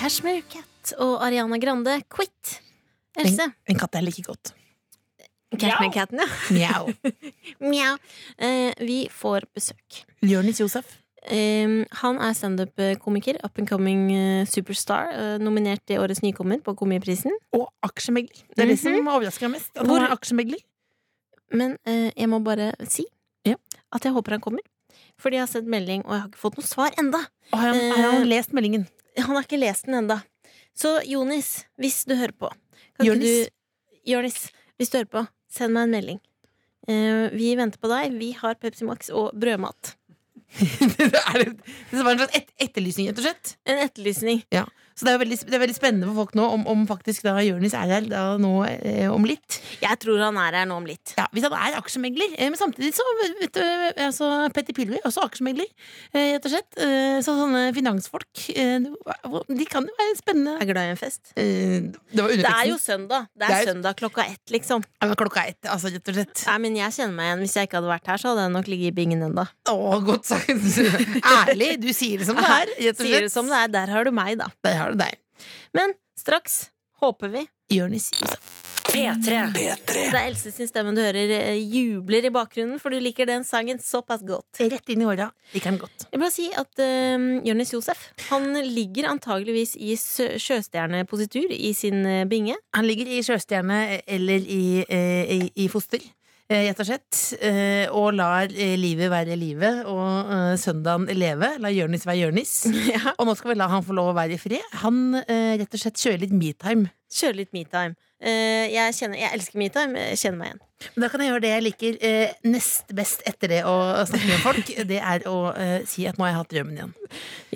Cashmere Cat og Ariana Grande, Quit. Else. En katt jeg liker godt. Cashmere Catten, ja. Mjau. Mjau. Eh, vi får besøk. Jonis Josef. Ehm, han er standup-komiker, up and coming eh, superstar, eh, nominert til årets nykommer på Komiprisen. Og aksjemegler. Det er det som overrasker meg mest. At Hvor- han er aksjemegler. Men eh, jeg må bare si Ja. at jeg håper han kommer. Fordi jeg har sendt melding, og jeg har ikke fått noe svar enda. Og Har han, Eh, har han lest meldingen? Han har ikke lest den enda. Så Jonis, hvis du hører på kan ikke Jonis. Du, Jonis, hvis du hører på, send meg en melding. Eh, vi venter på deg. Vi har Pepsi Max og brødmat. det, er, det- det var en slags et, etterlysning, rett og slett. En etterlysning. Så det er, jo veldig, det er veldig spennende for folk nå om, om faktisk da Jonis er her da nå eh, om litt. Jeg tror han er her nå om litt. Ja, Hvis han er aksjemegler. Eh, men samtidig så vet du, altså, Petter Pilvi, også aksjemegler, eh, rett og slett. Eh, så sånne finansfolk, eh, de kan jo være spennende. Jeg er glad i en fest. Eh, det Det var er underteksten. jo søndag. Det Det er er jo- søndag klokka ett, liksom. Ja, men klokka er ett, altså, rett og slett. Nei, men jeg kjenner meg igjen. Hvis jeg ikke hadde vært her, så hadde jeg nok ligget i bingen enda. Å, godt sagt. Ærlig, du sier det som det er. Rett og slett. Sier du som det er, der har du meg, da. Der har du deg. Men straks håper vi Jonis Josef. P3. P3. Det er Else sin stemme du hører eh, jubler i bakgrunnen, for du liker den sangen såpass godt. Rett inn i åra. Liker den godt. Jeg vil bare si at uh, Jonis Josef han ligger antageligvis i sø- sjøstjernepositur i sin eh, binge. Han ligger i sjøstjerne eller i, eh, i, i foster, eh, rett og slett. Eh, og lar eh, livet være livet, og eh, søndagen leve. La Jørnis være Jørnis. Og nå skal vi la han få lov å være i fred. Han eh, rett og slett kjører litt metime. Kjører litt metime. Eh, jeg, kjenner- jeg elsker metime. Jeg kjenner meg igjen. Men da kan jeg gjøre det jeg liker eh, nest best etter det å snakke med folk. Det er å eh, si at nå har jeg hatt drømmen igjen.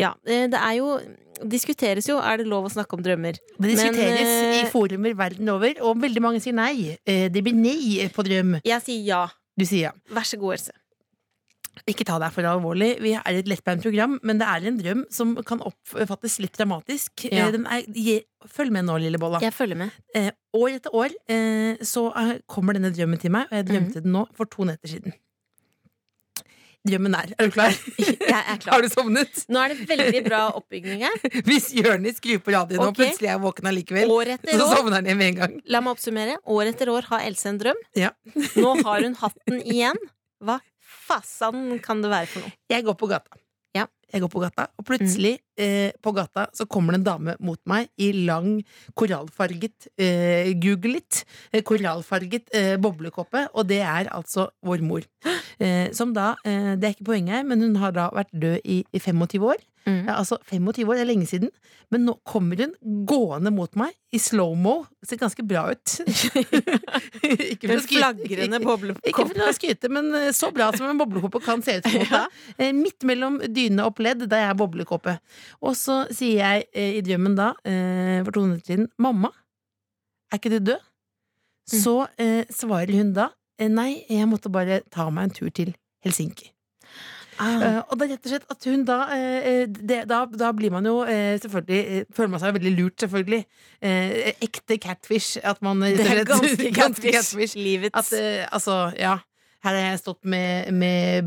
Ja, eh, det er jo Diskuteres jo, er det lov å snakke om drømmer? Det diskuteres Men, eh, i forumer verden over, og veldig mange sier nei. Eh, det blir nei på drøm. Jeg sier ja. Du sier ja. Vær så god, Else. Ikke ta deg for alvorlig. Vi er et lettbeint program, men det er en drøm som kan oppfattes litt dramatisk. Ja. Eh, Den er, je, følg med nå, lille bolla. Jeg følger med. Eh, år etter år eh, så eh, kommer denne drømmen til meg, og jeg drømte Mhm. den nå for to netter siden. Drømmen er Er du klar? Jeg er Har klar. du sovnet? Nå er det veldig bra oppbygning her. Hvis Jonis skrur på radioen og Ok. plutselig er jeg våken allikevel, År etter så år. sovner han igjen med en gang. La meg oppsummere. År etter år har Else en drøm. Ja. Nå har hun hatt den igjen. Hva fasan kan det være for noe? Jeg går på gata. Ja. Jeg går på gata, og plutselig eh, på gata så kommer det en dame mot meg i lang, korallfarget eh, Googlet, eh, korallfarget eh, boblekåpe, og det er altså vår mor. Eh, som da, eh, det er ikke poenget her, men hun har da vært død i, i 25 år. Mm. Ja, altså 25 år, det er lenge siden, men nå kommer hun gående mot meg i slow-mo. Ser ganske bra ut. ikke for å Den skryte- flagrende ikke for boblekoppen. å skryte, men eh, så bra som en boblekåpe kan se ut som. Ja. Eh, Midt mellom dyne og pledd, der jeg er boblekåpe. Og så sier jeg eh, i drømmen da, eh, for to minutter siden, 'Mamma, er ikke du død?' Mm. Så eh, svarer hun da, eh, 'Nei, jeg måtte bare ta meg en tur til Helsinki'. Ah. Eh, og det er rett og slett at hun da eh, eh, det, da, da blir man jo eh, selvfølgelig eh, Føler man seg veldig lurt, selvfølgelig. Eh, ekte catfish. At man eh, Det er rett og slett- ganske catfish. at, Livets eh, altså, ja her har jeg stått med, med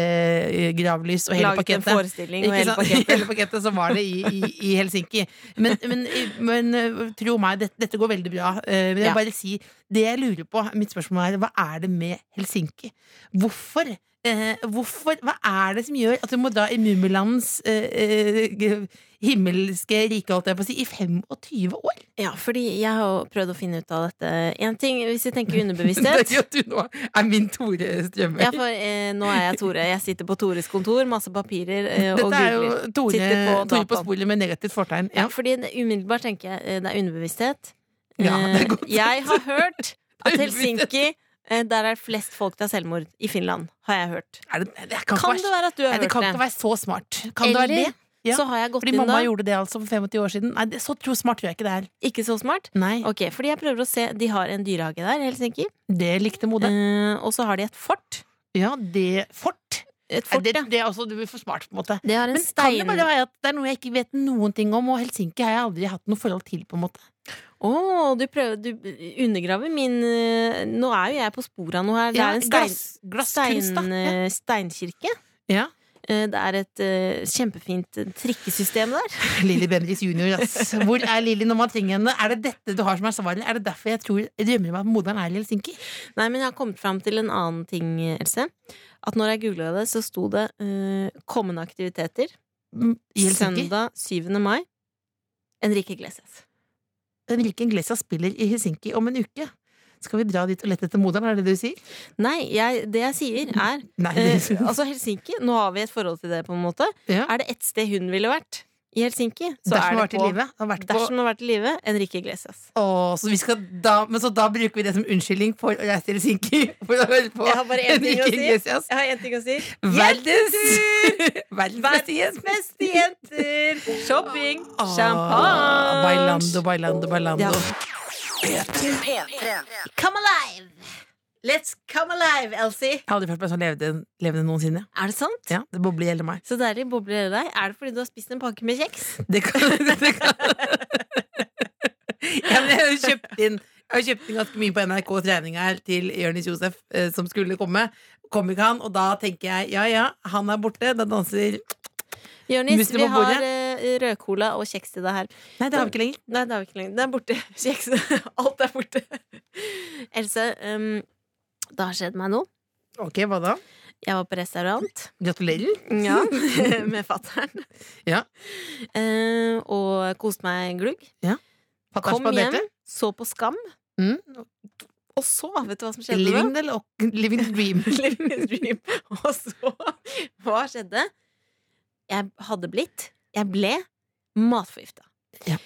Beyoncé-gravlys og hele Laget en pakketet. forestilling og Ikke hele sant? pakketet. hele pakketet, så var det i, i, i Helsinki. Men, men, men eh, tro meg, dette, dette går veldig bra. Eh, Men jeg Ja. bare si, det jeg lurer på, mitt spørsmål er, hva er det med Helsinki? Hvorfor? Eh, hvorfor? Hva er det som gjør at du må dra i Mummilandens eh, eh, himmelske rike, holdt jeg på å si, i 25 år? Ja, fordi jeg har jo prøvd å finne ut av dette. Én ting, hvis jeg tenker Det underbevissthet gjør at du nå er min Tore Strømøy. ja, for, eh, Nå er jeg Tore. Jeg sitter på Tores kontor, masse papirer eh, og Dette er jo googler. Tore Sitter på på, Tore på dataen. sporet med negativt fortegn. Ja, Ja. fordi det- umiddelbart tenker jeg eh, det er underbevissthet. Ja, det er Eh, godt. Jeg har hørt at Det er Helsinki eh, der er flest folk til selvmord i Finland, har jeg hørt. Er det, det kan, Kan det ikke være, være at du har nei, det kan hørt ikke det? være så smart. Kan det være Eller det? Ja. Så har jeg gått Fordi inn mamma da. gjorde det altså for 25 år siden. Nei, det, Så tro smart tror jeg ikke det er. Ikke så smart. Nei, Ok, fordi jeg prøver å se De har en dyrehage der, i Helsinki. Det likte Mode. Eh, og så har de et fort. Ja, det fort. Et Nei, fort, det, ja. det er også du er for smart, på en måte. Det har en Men kan det stein... bare være at det er noe jeg ikke vet noen ting om, og Helsinki har jeg aldri hatt noe forhold til, på en måte. Å, du prøver Du undergraver min eh, Nå er jo jeg på sporet av noe her. Det Ja, er en stein, glass- glasskunst, da. stein, Ja. eh, steinkirke. Ja. Eh, Det er et eh, kjempefint eh, trikkesystem der. Lilly Bendriss junior, ass. Hvor er Lilly når man trenger henne? Er det dette du har som er svaret? Er det derfor jeg tror jeg drømmer om at moderen er i Helsinki? Nei, men jeg har kommet fram til en annen ting, Else. At når jeg googla det, så sto det eh, 'kommende aktiviteter' Mm, I Helsinki? søndag 7. mai. Enrique Iglesias. Enrique Iglesias spiller i Helsinki om en uke. Skal vi dra dit og lette etter moderen, er det det du sier? Nei, jeg, det jeg sier, er Nei, eh, Altså, Helsinki Nå har vi et forhold til det, på en måte. ja. Er det ett sted hun ville vært i Helsinki, så Dersom er hun har det vært i på live. Har vært på, Dersom hun har vært i live, Enrique Iglesias. Å, så, vi skal da, men så da bruker vi det som unnskyldning for å reise til Helsinki for å høre på Jeg har bare én ting å Enrique si. Iglesias. Jeg har én ting å si. Verdens Verdens beste gjest. Beste jenter! Shopping, Å, champagne Bailando, bailando, bailando. Ja. Come alive! Let's come alive, Elsie! Jeg har aldri følt meg sånn levende, levende noensinne. Er det sant? Ja, det bobler i hele meg. Så deilig bobler det deg. Er det fordi du har spist en pakke med kjeks? Det kan, det kan. Ja, men jeg har jo kjøpt inn Jeg har kjøpt inn ganske mye på NRK trening her til Jonis Josef, eh, som skulle komme. Kom ikke han, og da tenker jeg ja ja, han er borte. Da danser Jonis, Musli vi på har bordet. eh, eh, rødcola og kjeks til deg her. Nei, det har vi ikke lenger. Nei, det har vi ikke lenger. Det er borte. Kjeks. Alt er borte. Else, ehm, det har skjedd meg noe. Ok, hva da? Jeg var på restaurant Gratulerer. ja, med fattern. Ja. Eh, og koste meg glugg. Fatter'n Kom hjem, spanderte. så på Skam. Mm. Og så, vet du hva som skjedde da? Living, the lo- living the dream. Living the dream. Og så Hva skjedde? Jeg hadde blitt, jeg ble, matforgifta. Ja.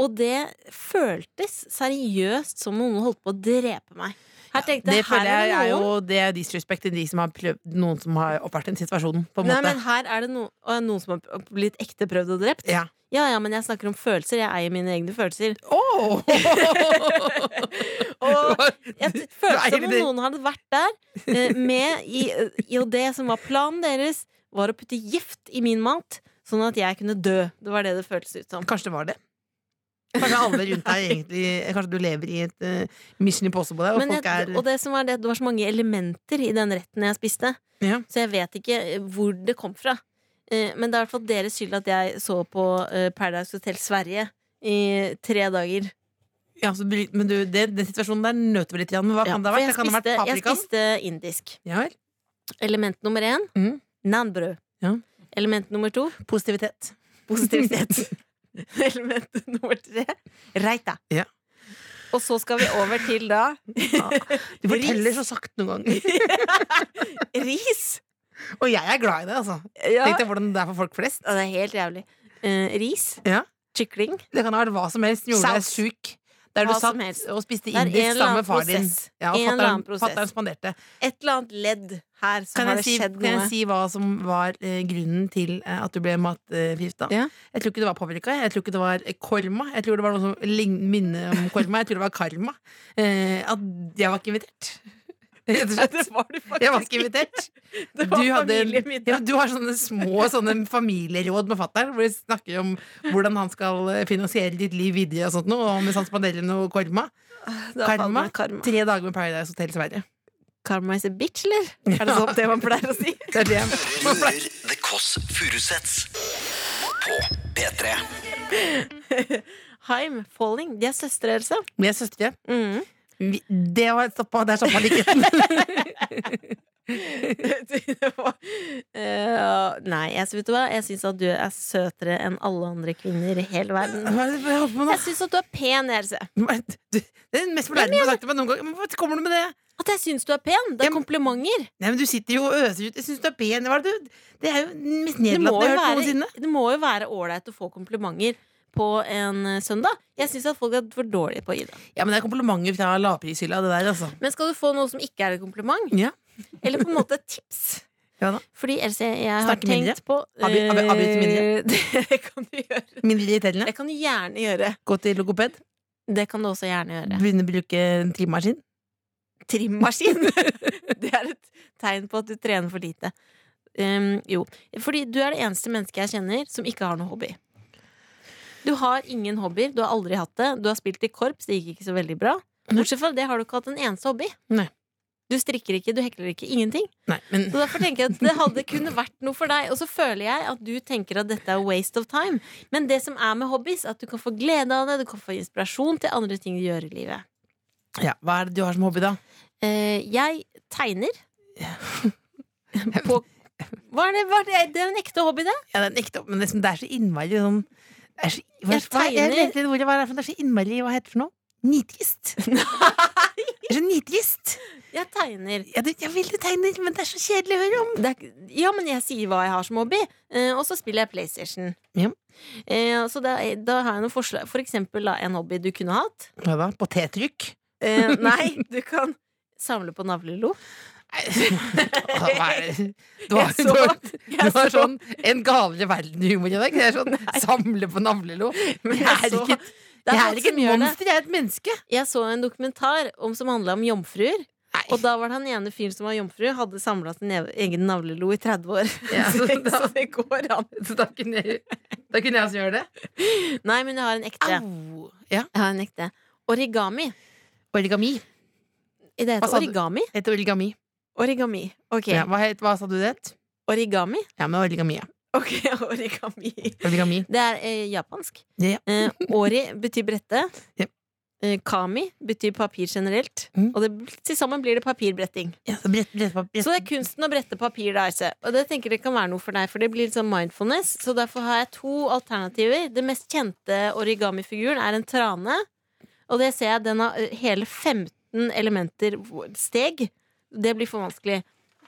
Og det føltes seriøst som om noen holdt på å drepe meg. Her tenkte Det jeg, her føler er jeg er det noen jo det er disrespect til de som har prøvd noen som har oppvært den situasjonen, på en Nei, måte. men her er det no, og noen som har blitt ekte prøvd og drept. Ja. ja, ja, men jeg snakker om følelser. Jeg eier mine egne følelser. Åh! Og Jeg t- følte Nei, som om det- noen hadde vært der eh, med i, i Og det som var planen deres, var å putte gift i min mat, sånn at jeg kunne dø. Det var det det føltes ut som. Kanskje det var det. Kanskje alle rundt deg egentlig Kanskje du lever i et eh, mission impossible, og Men folk jeg, er og det som var det, at det var så mange elementer i den retten jeg spiste, Ja. så jeg vet ikke eh, hvor det kom fra. Eh, Men det er i hvert fall deres skyld at jeg så på eh, Paradise Hotel Sverige i tre dager. ja, så, bry- Men du, det, den situasjonen der nøt vi litt, Jan. Men hva Ja, kan det for ha vært? jeg Det kan ha vært spiste- Jeg paprikaen? spiste indisk. Ja vel. Element nummer én Mm. nanbrød. Ja. Element nummer to Positivitet. positivitet. Element nummer tre reita. Ja. Og så skal vi over til da Du forteller så sakte noen ganger. ris. Og jeg er glad i det, altså. Ja. Tenk deg hvordan det er for folk flest. Ja, Det er helt jævlig. Eh, ris. Ja. Kykling. Det kan ha vært hva som helst som gjorde deg Saus. sjuk. Der du Hva som satt helst. og spiste Det er en indisk eller sammen annen med far din. prosess. Ja, En eller annen fatter'n prosess. fatter'n spanderte. Et eller annet ledd her som Kan har jeg, det si, skjedd kan jeg noe. si hva som var eh, grunnen til eh, at du ble matforgifta? Ja. Jeg tror ikke det var paprika, jeg tror ikke det var eh, korma. Jeg tror det var noe som lign- minner om korma. Jeg tror det var karma. Eh, at jeg var ikke invitert. Rett og slett. var du faktisk Jeg var ikke invitert. Det Du, hadde, ja, du har sånne små sånne familieråd med fatter'n, hvor de snakker om hvordan han skal eh, finansiere ditt liv videre. Og sånt noe, og hvis han spanderer noe korma. Da faller Karma. meg karma. Tre dager med Paradise Hotel Sverige. Karma is a bitch, eller? Er det sånn det man pleier å si? Det er det jeg Hører The Kåss Furuseths på P3. Heim, Falling. De er søstre, Else. Vi er søstre. Mm. Vi- Det var stoppa, der stoppa likheten. Det var- Eh, nei, jeg, vet du hva? Jeg syns at du er søtere enn alle andre kvinner i hele verden. Hva er det jeg holder på med nå? Jeg syns at du er pen, Else. Du, det er den mest fornærmende jeg har sagt til meg noen gang. Men Hva kommer du med det? At jeg syns du er pen! Det Ja, er men- komplimenter. Nei, men Du sitter jo og øser ut. Jeg syns du er pen. Hva er det, du? det er jo den mest Det må nedlatende jeg jo har hørt være, noensinne. det må jo være ålreit å få komplimenter på en eh, søndag. Jeg syns at folk er for dårlige på å gi det. Ja, men Det er komplimenter fra lavprishylla, det der, altså. Men skal du få noe som ikke er et kompliment, Ja. eller på en måte et tips Ja da. Fordi Else, jeg har Snakke mindre. tenkt på Avbry- avbry- avbryte mindre. eh, Det kan du gjøre. Mindre irriterende. Det kan du gjerne gjøre. Gå til logoped. Det kan du også gjerne gjøre. Begynne å bruke en trimmaskin. trimmaskin. det er et tegn på at du trener for lite. Um, jo, fordi du er det eneste mennesket jeg kjenner som ikke har noe hobby. Du har ingen hobbyer, du har aldri hatt det. Du har spilt i korps, det gikk ikke så veldig bra. Bortsett fra det har du ikke hatt en eneste hobby. Nei. Du strikker ikke, du hekler ikke. Ingenting. Nei, men Så derfor tenker jeg at det hadde kunne vært noe for deg. Og så føler jeg at du tenker at dette er waste of time. Men det som er med hobbies, at du kan få glede av det, du kan få inspirasjon til andre ting du gjør i livet. ja, hva er det du har som hobby, da? Eh, jeg tegner. På hva er det, hva er det? det er en ekte hobby, det. Ja, det er en ekte hobby, men liksom, det er så innmari sånn det er så, Jeg hva, hva, jeg tegner. leter etter ordet, hva er det for noe? Det er så innmari Hva heter det for noe? Nitrist. Det er så nitrist. Jeg tegner. Ja, det, jeg vil du tegner, men det er så kjedelig å høre om. Det er, ikke- ja, men jeg sier hva jeg har som hobby, eh, og så spiller jeg PlayStation. Ja. Eh, så da, da har jeg noen forslag. For eksempel da, en hobby du kunne hatt. Hva da? Potettrykk? Eh, nei, du kan samle på navlelo. Hva er det? Du har, Jeg du så- har, du jeg har så- sånn en galere verden-humor i dag. Det er sånn samle på navlelo. Men jeg er så- ikke, Det er jeg folk er ikke som et gjør det. monster, jeg er et menneske. Jeg så en dokumentar om, som handla om jomfruer. Nei. Og da var det han ene fyren som var jomfru, hadde samla sin ev- egen navlelo i 30 år. Ja, så, så da- så det går an. Så da kunne jeg, da kunne jeg også gjøre det. Nei, men jeg har en ekte. Au! Ja. Jeg har en ekte. Origami. Origami. I det heter Hva sa du? origami. Heter Altså, origami. Origami. Ok. Ja, hva, het, hva sa du det het? Origami. Ja, men origami, ja. Ok, origami. Origami. Det er eh, japansk. Ja. Eh, ori betyr brette. Ja. Eh, kami betyr papir generelt. Mm. Og det, til sammen blir det papirbretting. Ja, så brett, brett, brett. Så det er kunsten å brette papir. Da, Else. Og det tenker jeg kan være noe for deg, for det blir litt sånn mindfulness. Så derfor har jeg to alternativer. Det mest kjente origamifiguren er en trane. Og det ser jeg, den har ø, hele 15 elementer hvor- steg. Det blir for vanskelig.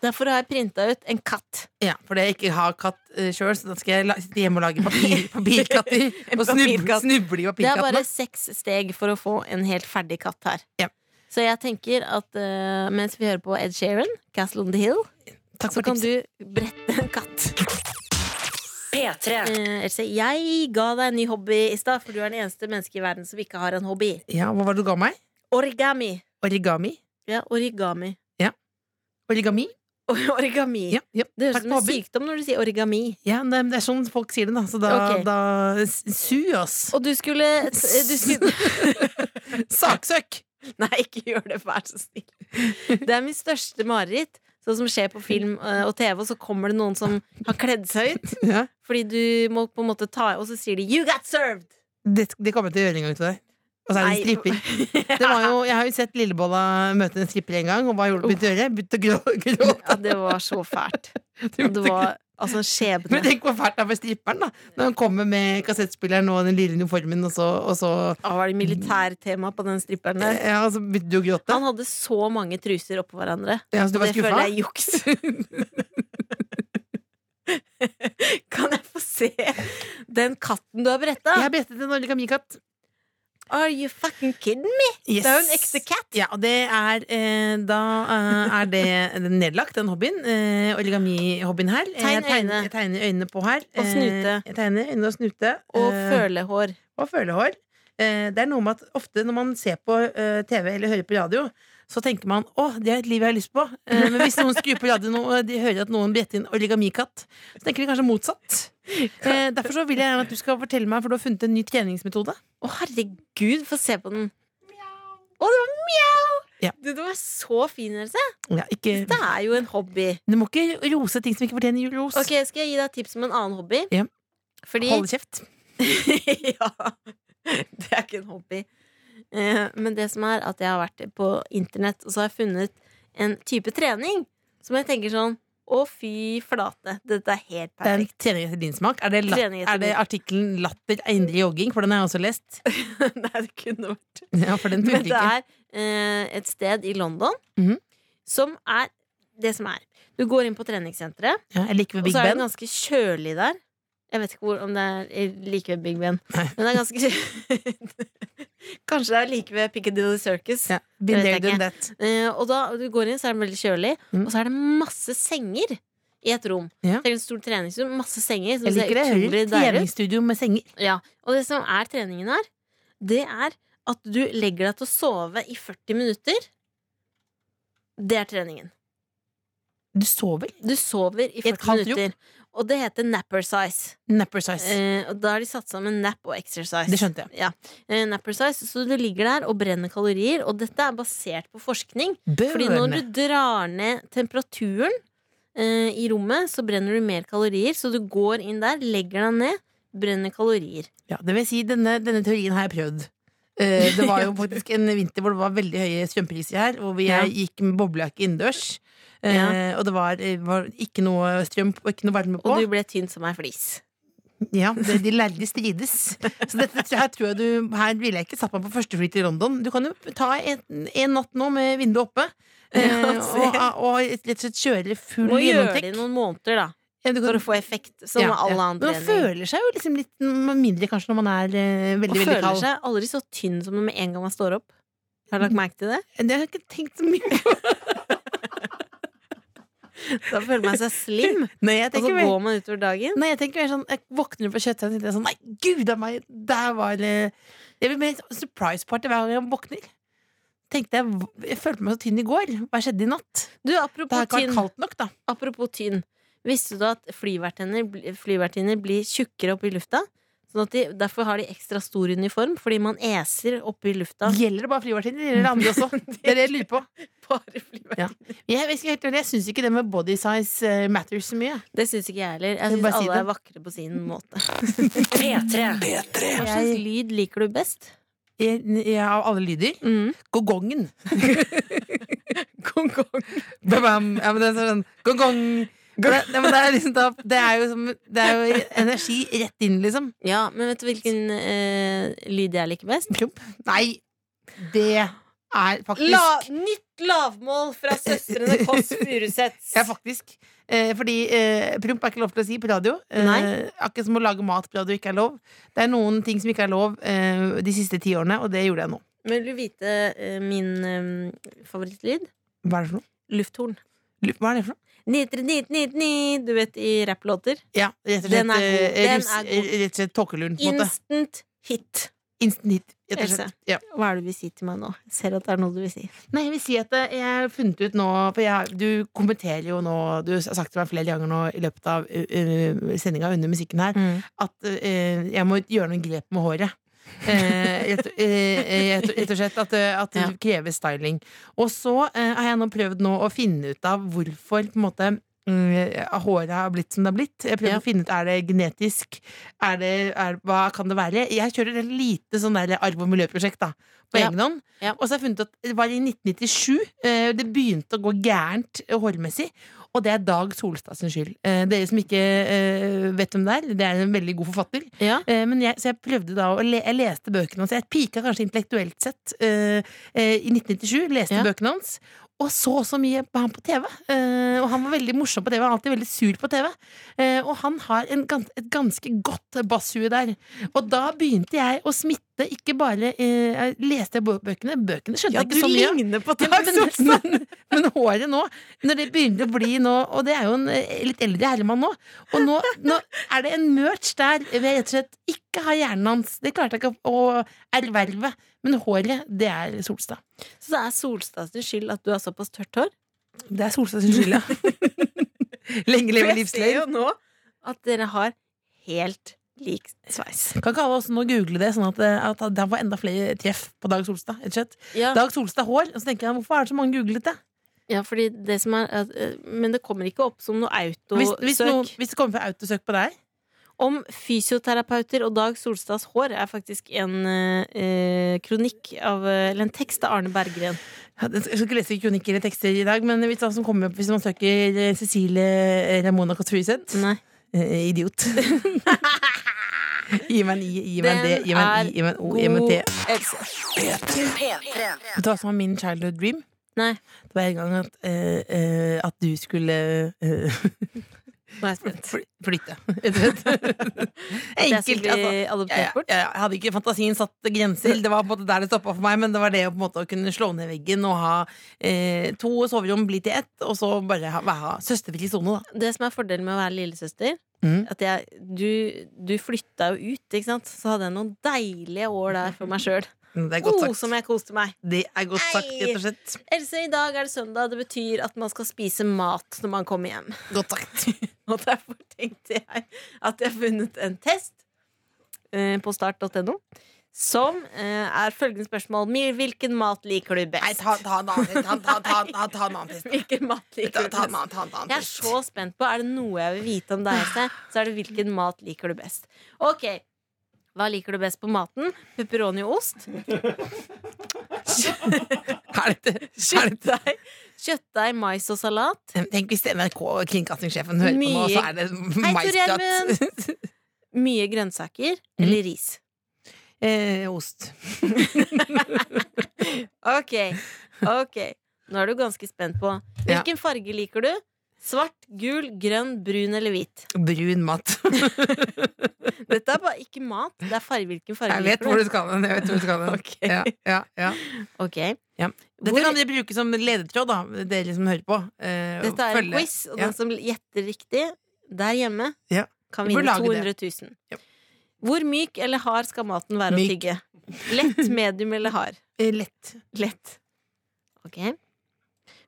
Derfor har jeg printa ut en katt. Ja, fordi jeg ikke har katt uh, sjøl, så da skal jeg la, sitte hjemme og lage papir, papirkatter. En og snuble, papirkatt. snuble i Det er papirkattene. bare seks steg for å få en helt ferdig katt her. Ja. Så jeg tenker at ø, mens vi hører på Ed Sheeran, Castle on the Hill, Takk så for kan tipset. du brette en katt. P3. Eh, Else, jeg ga deg en ny hobby i stad, for du er den eneste mennesket i verden som ikke har en hobby. Ja, hva var det du ga meg? Origami. Origami? Ja, origami. Origami? O- Origami. Ja, ja. Det høres ut som Takk for en hobby. sykdom når du sier origami. Ja, det, det er sånn folk sier det, da. Så da, Ok. da s- Su oss. Og du skulle, t- du skulle Saksøk! Nei, ikke gjør det, vær så snill. Det er min største mareritt. Sånn som skjer på film eh, og TV, og så kommer det noen som har kledd seg ut. Ja. Fordi du må på en måte ta Og så sier de 'you got served'! Det, det kommer jeg til å gjøre en gang til deg. Og så er det en stripper. stripper. Det var jo, jeg har jo sett Lillebolla møte en stripper en gang, og hva gjorde du begynte å gjøre? Begynte å grå- gråte. Ja, det var så fælt. Og Du begynte det å var altså en skjebne. Men tenk hvor fælt det er for stripperen, da. Når han kommer med kassettspilleren og den lille uniformen, og så, og så Å, var det militærtema på den stripperen der? Ja, og så begynte du å gråte. Han hadde så mange truser oppå hverandre. Ja, så du Det var skuffa? føler jeg er juks. kan jeg få se den katten du har bretta? Jeg brettet en origami-katt. Are you fucking kidding me? Yes. Det er jo en ekte katt. Ja, og det er eh, Da eh, er det den nedlagt, den hobbyen. Eh, Origami-hobbyen her. Eh, Tegn jeg tegner, øyne. jeg tegner øynene på her. Og snute. Eh, jeg tegner øynene og snute. Og eh, følehår. og følehår. Eh, det er noe med at ofte når man ser på eh, TV eller hører på radio, så tenker man å, det er et liv jeg har lyst på. Eh, men hvis noen skrur på radioen og de hører at noen bretter inn origamikatt, så tenker de kanskje motsatt. Eh, derfor så vil jeg gjerne at du skal fortelle meg, for du har funnet en ny treningsmetode. Å, herregud, få se på den. Å, det var mjau! Ja. Du, det var så fin, Else. Ja, ikke, Det er jo en hobby. du må ikke rose ting som ikke fortjener ros. Ok, Skal jeg gi deg et tips om en annen hobby? Ja. Fordi Hold kjeft. ja. Det er ikke en hobby. Eh, Men det som er at jeg har vært på internett, og så har jeg funnet en type trening som jeg tenker sånn Å, fy flate. Dette er helt Det er en perfekt. trening etter din smak. Er det, la- Trening etter er det min- artikkelen 'Latter er indre jogging'? For den har jeg også lest. Nei, det kunne vært Ja, for den funker Men det ikke. er eh, et sted i London Mhm. som er det som er. Du går inn på treningssenteret, Ja, jeg liker ved og Big så er det Ben. ganske kjølig der. Jeg vet ikke hvor, om det er i- like ved Big Ben, men det er ganske Kanskje det er like ved Piccadilly Circus. Ja, Det been there, vet jeg done that. Eh, og da og du går inn, så er den veldig kjølig, Mm. og så er det masse senger i et rom. Ja. Det er en stor treningsrom, masse senger som Jeg ser liker det. jeg utrolig hører deilig ut. Treningsstudio med senger. Ja. Og det som er treningen her, det er at du legger deg til å sove i 40 minutter. Det er treningen. Du sover? Du sover i et 40 halvt rom? minutter. Og det heter napper size. Napper size. Eh, og da har de satt sammen nap og exercise. Det skjønte jeg. Ja. Eh, napper size, så du ligger der og brenner kalorier, og dette er basert på forskning. Burn. Fordi når du drar ned temperaturen eh, i rommet, så brenner du mer kalorier. Så du går inn der, legger deg ned, brenner kalorier. ja, det vil si, denne, denne teorien har jeg prøvd. Eh, det var jo faktisk en vinter hvor det var veldig høye strømpriser her, hvor vi Ja. jeg gikk med boblejakke innendørs. Eh, Og det var, eh, var ikke noe strøm og ikke noe varme på. Og du ble tynn som ei flis. Ja, det, De lærde strides. Så dette, her tror jeg du Her ville jeg ikke satt meg på førstefly til London. Du kan jo ta en, en natt nå med vinduet oppe, eh, Ja, se. og, og rett og slett kjøre Du full må gjøre det gjennomtrekk. i noen måneder, da. Ja, du kan- For å få effekt, som med all annen Men man trening. føler seg jo liksom litt mindre kanskje når man er eh, Man veldig, veldig føler kald. seg aldri så tynn som med en gang man står opp. Har du lagt merke til det? Det har jeg ikke tenkt så mye på. Da føler man seg slim, Altså, Nei, jeg og så tenker mer, går man utover dagen. nei, jeg tenker mer sånn Jeg våkner opp på kjøttdeig og tenker sånn Nei, gud a meg, der var det Jeg blir mer sånn surprise party hver gang jeg våkner. Tenkte jeg, jeg følte meg så tynn i går. Hva skjedde i natt? Du, Det har apropos ikke vært tynn. kaldt nok, da. Apropos tynn. Visste du at flyvertinner, bli- flyvertinner blir tjukkere opp i lufta? Sånn at de, derfor har de ekstra stor uniform, fordi man eser oppe i lufta. Gjelder det bare flyvertinner, eller andre også? Det er det jeg lurer på. Bare flyvær. Ja. Jeg, jeg, jeg, jeg syns ikke det med body size eh, matters så mye. Det syns ikke jeg heller. Jeg vil syns bare si alle det. er vakre på sin måte. P3. P3. Hva slags lyd liker du best? Jeg, jeg, av alle lyder. Mm. Gongongen. Gongong. Ba-bam. Ja, men det er sånn gongong. Det, det, men det, er liksom, da- det, er jo som, det er jo energi rett inn, liksom. Ja, men vet du hvilken eh, lyd jeg liker best? Promp. Nei, det er faktisk nytt lavmål fra Søstrene Kåss Furuseths. Ja, faktisk. Eh, fordi eh, promp er ikke lov til å si på radio. Eh, Nei. Akkurat som å lage mat på radio ikke er lov. Det er noen ting som ikke er lov eh, de siste ti årene, og det gjorde jeg nå. Men vil du vite eh, min eh, favorittlyd? Hva er det for noe? Lufthorn. Lu- Hva er det for noe? Nitre, nit, nit, ni, du vet i rapplåter. Ja, rett og slett, Den er god. eh, Den russ- er god. eh, Rett og slett tåkelund, på en måte. Instant hit. Instant hit, rett og Else. slett. Ja. Hva er det du vil si til meg nå? Jeg ser at det er noe du vil si. Nei, jeg vil si at eh, jeg har funnet ut nå For jeg, du kommenterer jo nå Du har sagt til meg flere ganger nå i løpet av uh, sendinga under musikken her at eh, jeg må gjøre noen grep med håret. Eh, rett, eh, rett, rett og slett at, eh, at det Ja. krever styling. Og så eh, har jeg nå prøvd nå å finne ut av hvorfor på en måte mm, håret har blitt som det har blitt. Jeg prøver Ja. å finne ut Er det genetisk. Er det, er, hva kan det være? Jeg kjører et lite sånn der arv- og miljøprosjekt da på Ja. egen hånd. Ja. Og så har jeg funnet ut at det var i 1997 eh, det begynte å gå gærent eh, hårmessig. Og det er Dag Solstad sin skyld. Eh, dere som ikke eh, vet hvem det er, det er en veldig god forfatter. Ja. Eh, men jeg, så jeg prøvde da å le, Jeg leste bøkene hans. Jeg pika kanskje intellektuelt sett eh, eh, i 1997. Leste Ja. bøkene hans. Og så så mye på han på TV. Eh, og han var veldig morsom på TV. Han var alltid veldig sur på TV. Eh, og han har en, gans- et ganske godt basshue der. Og da begynte jeg å smitte. Ikke bare eh, jeg leste jeg bø- bøkene. Bøkene skjønte jeg ikke så mye. av. på Ja, men, men, men håret nå, når det begynner å bli nå Og det er jo en eh, litt eldre herremann nå. Og nå, nå er det en merch der hvor jeg rett og slett ikke har hjernen hans. Det klarte jeg ikke å erverve. Men håret, det er Solstad. Så det er Solstad sin skyld at du har såpass tørt hår? Det er Solstad sin skyld, ja. Lenge leve livsløgn. nå at dere har helt lik sveis. Kan ikke alle også nå google det, sånn at, eh, at han får enda flere treff på Dag Solstad? rett og slett. Ja, Dag Solstad hår. Og så tenker jeg, hvorfor er det så mange googlet det? ja fordi det som er at, eh, Men det kommer ikke opp som noe Hvis, hvis, noen, autosøk. hvis det kommer fra autosøk på deg? Om fysioterapeuter og Dag Solstads hår er faktisk en eh, kronikk av eh, Eller en tekst av Arne Berggren. Ja, Jeg skal ikke lese kronikker eller tekster i dag, men hvis, han som kommer opp, hvis man søker eh, Cecilie eh, Ramona Cotruisent Nei. eh, Idiot. gi meg en I, gi meg en D, Den gi meg en I, er gi meg en O, gi meg en T. P3. Vet du hva som var min childhood dream? Nei. Det var en gang at, eh, eh, at du skulle eh, Nå er jeg spent. fly- flytte. Rett og Jeg slett. skulle Enkelt. bli Altså. Ja, adoptert ja, bort. ja, jeg hadde ikke fantasien satt grenser. Det var på en måte der det stoppa for meg, men det var det å på en måte å kunne slå ned veggen og ha eh, to soverom bli til ett, og så bare ha, være- ha søsterfri sone, da. Det som er fordelen med å være lillesøster, Mm. at jeg, du, du flytta jo ut, ikke sant? Så hadde jeg noen deilige år der for meg sjøl. Mm, Det er godt Oh, sagt. som jeg koste meg. Det er godt sagt, rett og slett. Else, i dag er det søndag. Det betyr at man skal spise mat når man kommer hjem. Godt sagt. Og derfor tenkte jeg at jeg har funnet en test eh, på start.no som eh, er følgende spørsmål. Mil- Hvilken mat liker du Nei, best? ta, ta, en annen- ta, ta, ta, ta, ta en annen test. Hvilken mat Ta, liker du ta en best? annen- ta en annen Jeg er test. så spent på Er det noe jeg vil vite om deg, Else, så er det hvilken mat liker du best. Ok, hva liker du best på maten? Pepperoni og ost? Er dette- er dette- Kjøttdeig, kjøttdeig mais og salat? Tenk hvis NRK-kringkastingssjefen hører på nå, Mye- så er det Tor maisprat. Gjermund. Mye grønnsaker eller Mhm. ris? Eh, ost. Ok, ok Nå er du ganske spent på Hvilken farge liker du? Svart, gul, grønn, brun eller hvit? Brun mat. Dette er bare ikke mat, det er farge, hvilken farge Jeg vet liker hvor du skal hen. Jeg vet hvor du skal hen. Ok. Ja, ja, ja. Ok, Ja. Dette Hvor- kan dere bruke som ledetråd, da, dere som hører på. Eh, og Dette er en følge. quiz, og Ja. den som gjetter riktig der hjemme, Ja. kan Du bør vinne lage 200 det. 000. Ja. Hvor myk eller hard skal maten være å Myk. tygge? Lett, medium eller hard? Eh, Lett. Lett. Ok.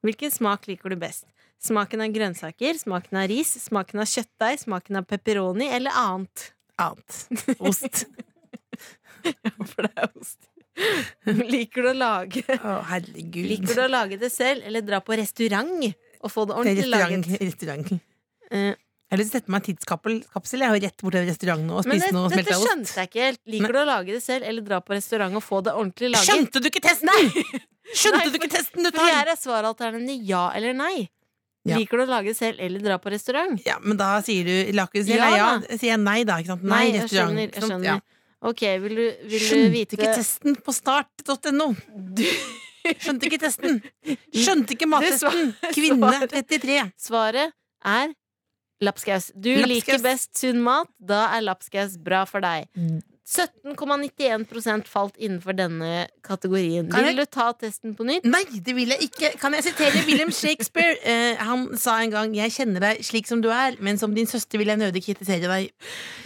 Hvilken smak liker du best? Smaken av grønnsaker, smaken av ris, smaken av kjøttdeig, smaken av pepperoni eller annet? annet. Ost. For det er ost. Liker du å lage Å, herregud. Liker du å lage det selv, eller dra på restaurant og få det ordentlig restaurant? laget? restaurant. Eh, Jeg har lyst til å sette meg en tidskapsel Jeg og rett bort til restauranten nå og Men spise det, noe dette smelta ost. skjønte jeg ikke helt. Liker du å lage det selv, eller dra på restaurant og få det ordentlig laget? Skjønte du ikke testen?! Nei! Skjønte Nei, du ikke for- testen du For tar?! her er svaralternativene ja eller nei. Ja. Liker du å lage det selv, eller dra på restaurant? Ja, men da sier du lakris Ja, eller ja? da. Sier jeg nei, da? Ikke sant? Nei, jeg restaurant. skjønner. ikke Jeg sant? skjønner. Ja. Ok, vil du, vil du Skjønte vite ikke testen på start.no. Skjønte ikke testen. Skjønte ikke mattesten. Kvinne 33. Svaret er lapskaus. Du liker Lapskaus. best sunn mat, da er lapskaus bra for deg. Mm. 17,91 falt innenfor denne kategorien. Kan jeg- Vil du ta testen på nytt? Nei, det vil jeg ikke. Kan jeg sitere William Shakespeare? Eh, han sa en gang 'Jeg kjenner deg slik som du er, men som din søster vil jeg nødig kritisere deg'.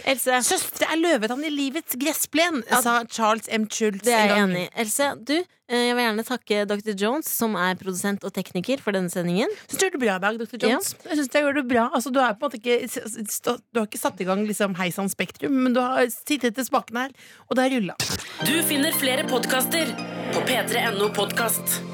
Else, Søstre er løvetann i livets gressplen, sa Charles M. Schultz. det er jeg en gang. enig i. Else, du, eh, jeg vil gjerne takke Dr. Jones, som er produsent og tekniker, for denne sendingen. Syns du gjør det bra i dag, dr. Jones. Jeg synes jeg gjør det bra altså, Du er på en måte ikke s- s- stå- Du har ikke satt i gang liksom, Hei sann Spektrum, men du har sittet til spakene her, og det har rulla. Du finner flere podkaster på p3.no podkast.